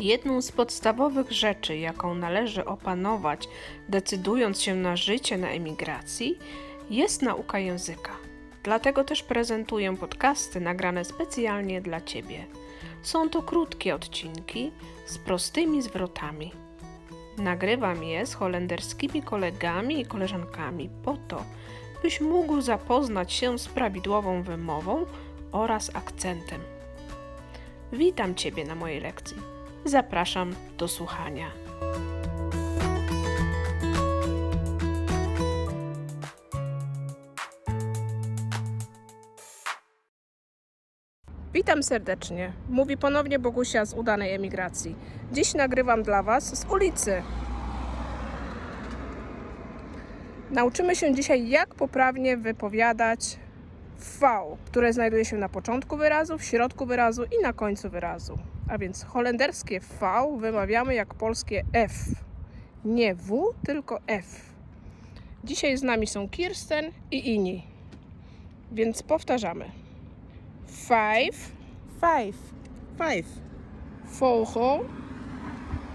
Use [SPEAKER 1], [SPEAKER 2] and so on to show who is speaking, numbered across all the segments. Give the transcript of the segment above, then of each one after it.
[SPEAKER 1] Jedną z podstawowych rzeczy, jaką należy opanować, decydując się na życie na emigracji, jest nauka języka. Dlatego też prezentuję podcasty nagrane specjalnie dla Ciebie. Są to krótkie odcinki z prostymi zwrotami. Nagrywam je z holenderskimi kolegami i koleżankami po to, byś mógł zapoznać się z prawidłową wymową oraz akcentem. Witam Ciebie na mojej lekcji. Zapraszam do słuchania. Witam serdecznie. Mówi ponownie Bogusia z udanej emigracji. Dziś nagrywam dla Was z ulicy. Nauczymy się dzisiaj, jak poprawnie wypowiadać V, które znajduje się na początku wyrazu, w środku wyrazu i na końcu wyrazu. A więc holenderskie V wymawiamy jak polskie F. Nie W, tylko F. Dzisiaj z nami są Kirsten i inni. Więc powtarzamy. Five,
[SPEAKER 2] Vijf. Vijf.
[SPEAKER 1] vogel,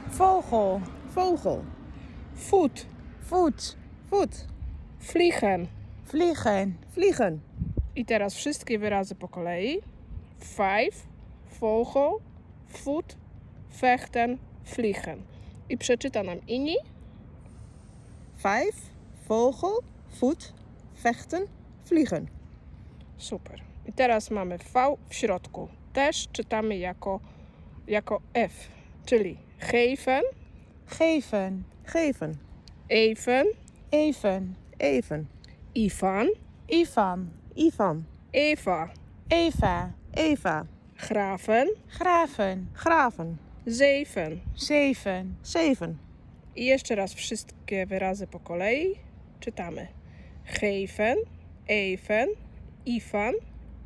[SPEAKER 2] Vogel. Vogel.
[SPEAKER 1] foot,
[SPEAKER 2] Voet. Voet.
[SPEAKER 1] vliegen.
[SPEAKER 2] Vliegen. Vliegen.
[SPEAKER 1] I teraz wszystkie wyrazy po kolei. Five, vogel, foot, vechten, vliegen. I przeczyta nam inni.
[SPEAKER 2] Vijf. Vogel. Voet. Vechten. Vliegen.
[SPEAKER 1] Super. I teraz mamy V w środku. Też czytamy jako, jako F, czyli geven,
[SPEAKER 3] Geven,
[SPEAKER 2] Geven.
[SPEAKER 1] even,
[SPEAKER 3] Even,
[SPEAKER 2] Even.
[SPEAKER 1] Ivan,
[SPEAKER 3] Ivan,
[SPEAKER 2] Ivan.
[SPEAKER 1] Eva,
[SPEAKER 3] Eva,
[SPEAKER 2] Eva.
[SPEAKER 1] graven,
[SPEAKER 3] Graven,
[SPEAKER 2] Graven.
[SPEAKER 1] zeven.
[SPEAKER 3] Zeven,
[SPEAKER 2] Zeven.
[SPEAKER 1] I jeszcze raz wszystkie wyrazy po kolei czytamy. Geven, even, Ivan,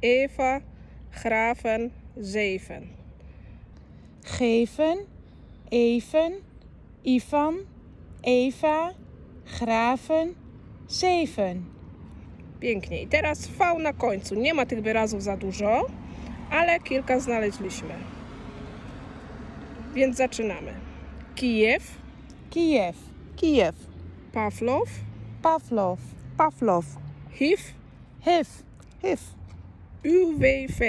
[SPEAKER 1] Eva, graven, zeven.
[SPEAKER 3] Geven, Even, Ivan, Eva, Graven, Zeven.
[SPEAKER 1] Pięknie. I teraz V na końcu. Nie ma tych wyrazów za dużo, ale kilka znaleźliśmy. Więc zaczynamy. Kijew,
[SPEAKER 3] Kiev,
[SPEAKER 2] Kiev.
[SPEAKER 1] Pawlow,
[SPEAKER 3] Pavlov,
[SPEAKER 2] Pavlov.
[SPEAKER 1] HIV,
[SPEAKER 3] Hiv,
[SPEAKER 2] Hiv.
[SPEAKER 1] UWV.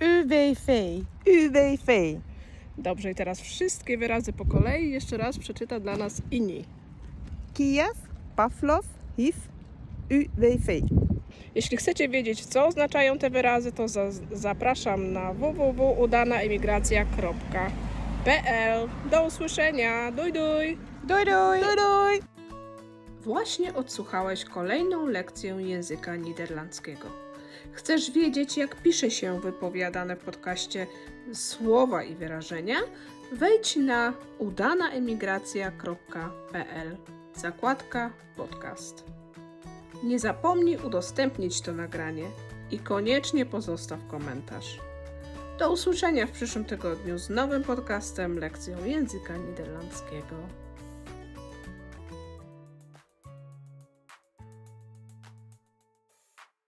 [SPEAKER 3] UWV,
[SPEAKER 2] UWV.
[SPEAKER 1] Dobrze, i teraz wszystkie wyrazy po kolei jeszcze raz przeczyta dla nas inni.
[SPEAKER 2] Kiev. Pavlov. Hiv. UWV.
[SPEAKER 1] Jeśli chcecie wiedzieć, co oznaczają te wyrazy, to za- zapraszam na www.udanaemigracja.pl. Do usłyszenia. Duj, duj!
[SPEAKER 3] Doei doei!
[SPEAKER 2] Doei doei.
[SPEAKER 1] Właśnie odsłuchałeś kolejną lekcję języka niderlandzkiego. Chcesz wiedzieć, jak pisze się wypowiadane w podcaście słowa i wyrażenia? Wejdź na udanaemigracja.pl zakładka podcast. Nie zapomnij udostępnić to nagranie i koniecznie pozostaw komentarz. Do usłyszenia w przyszłym tygodniu z nowym podcastem lekcją języka niderlandzkiego.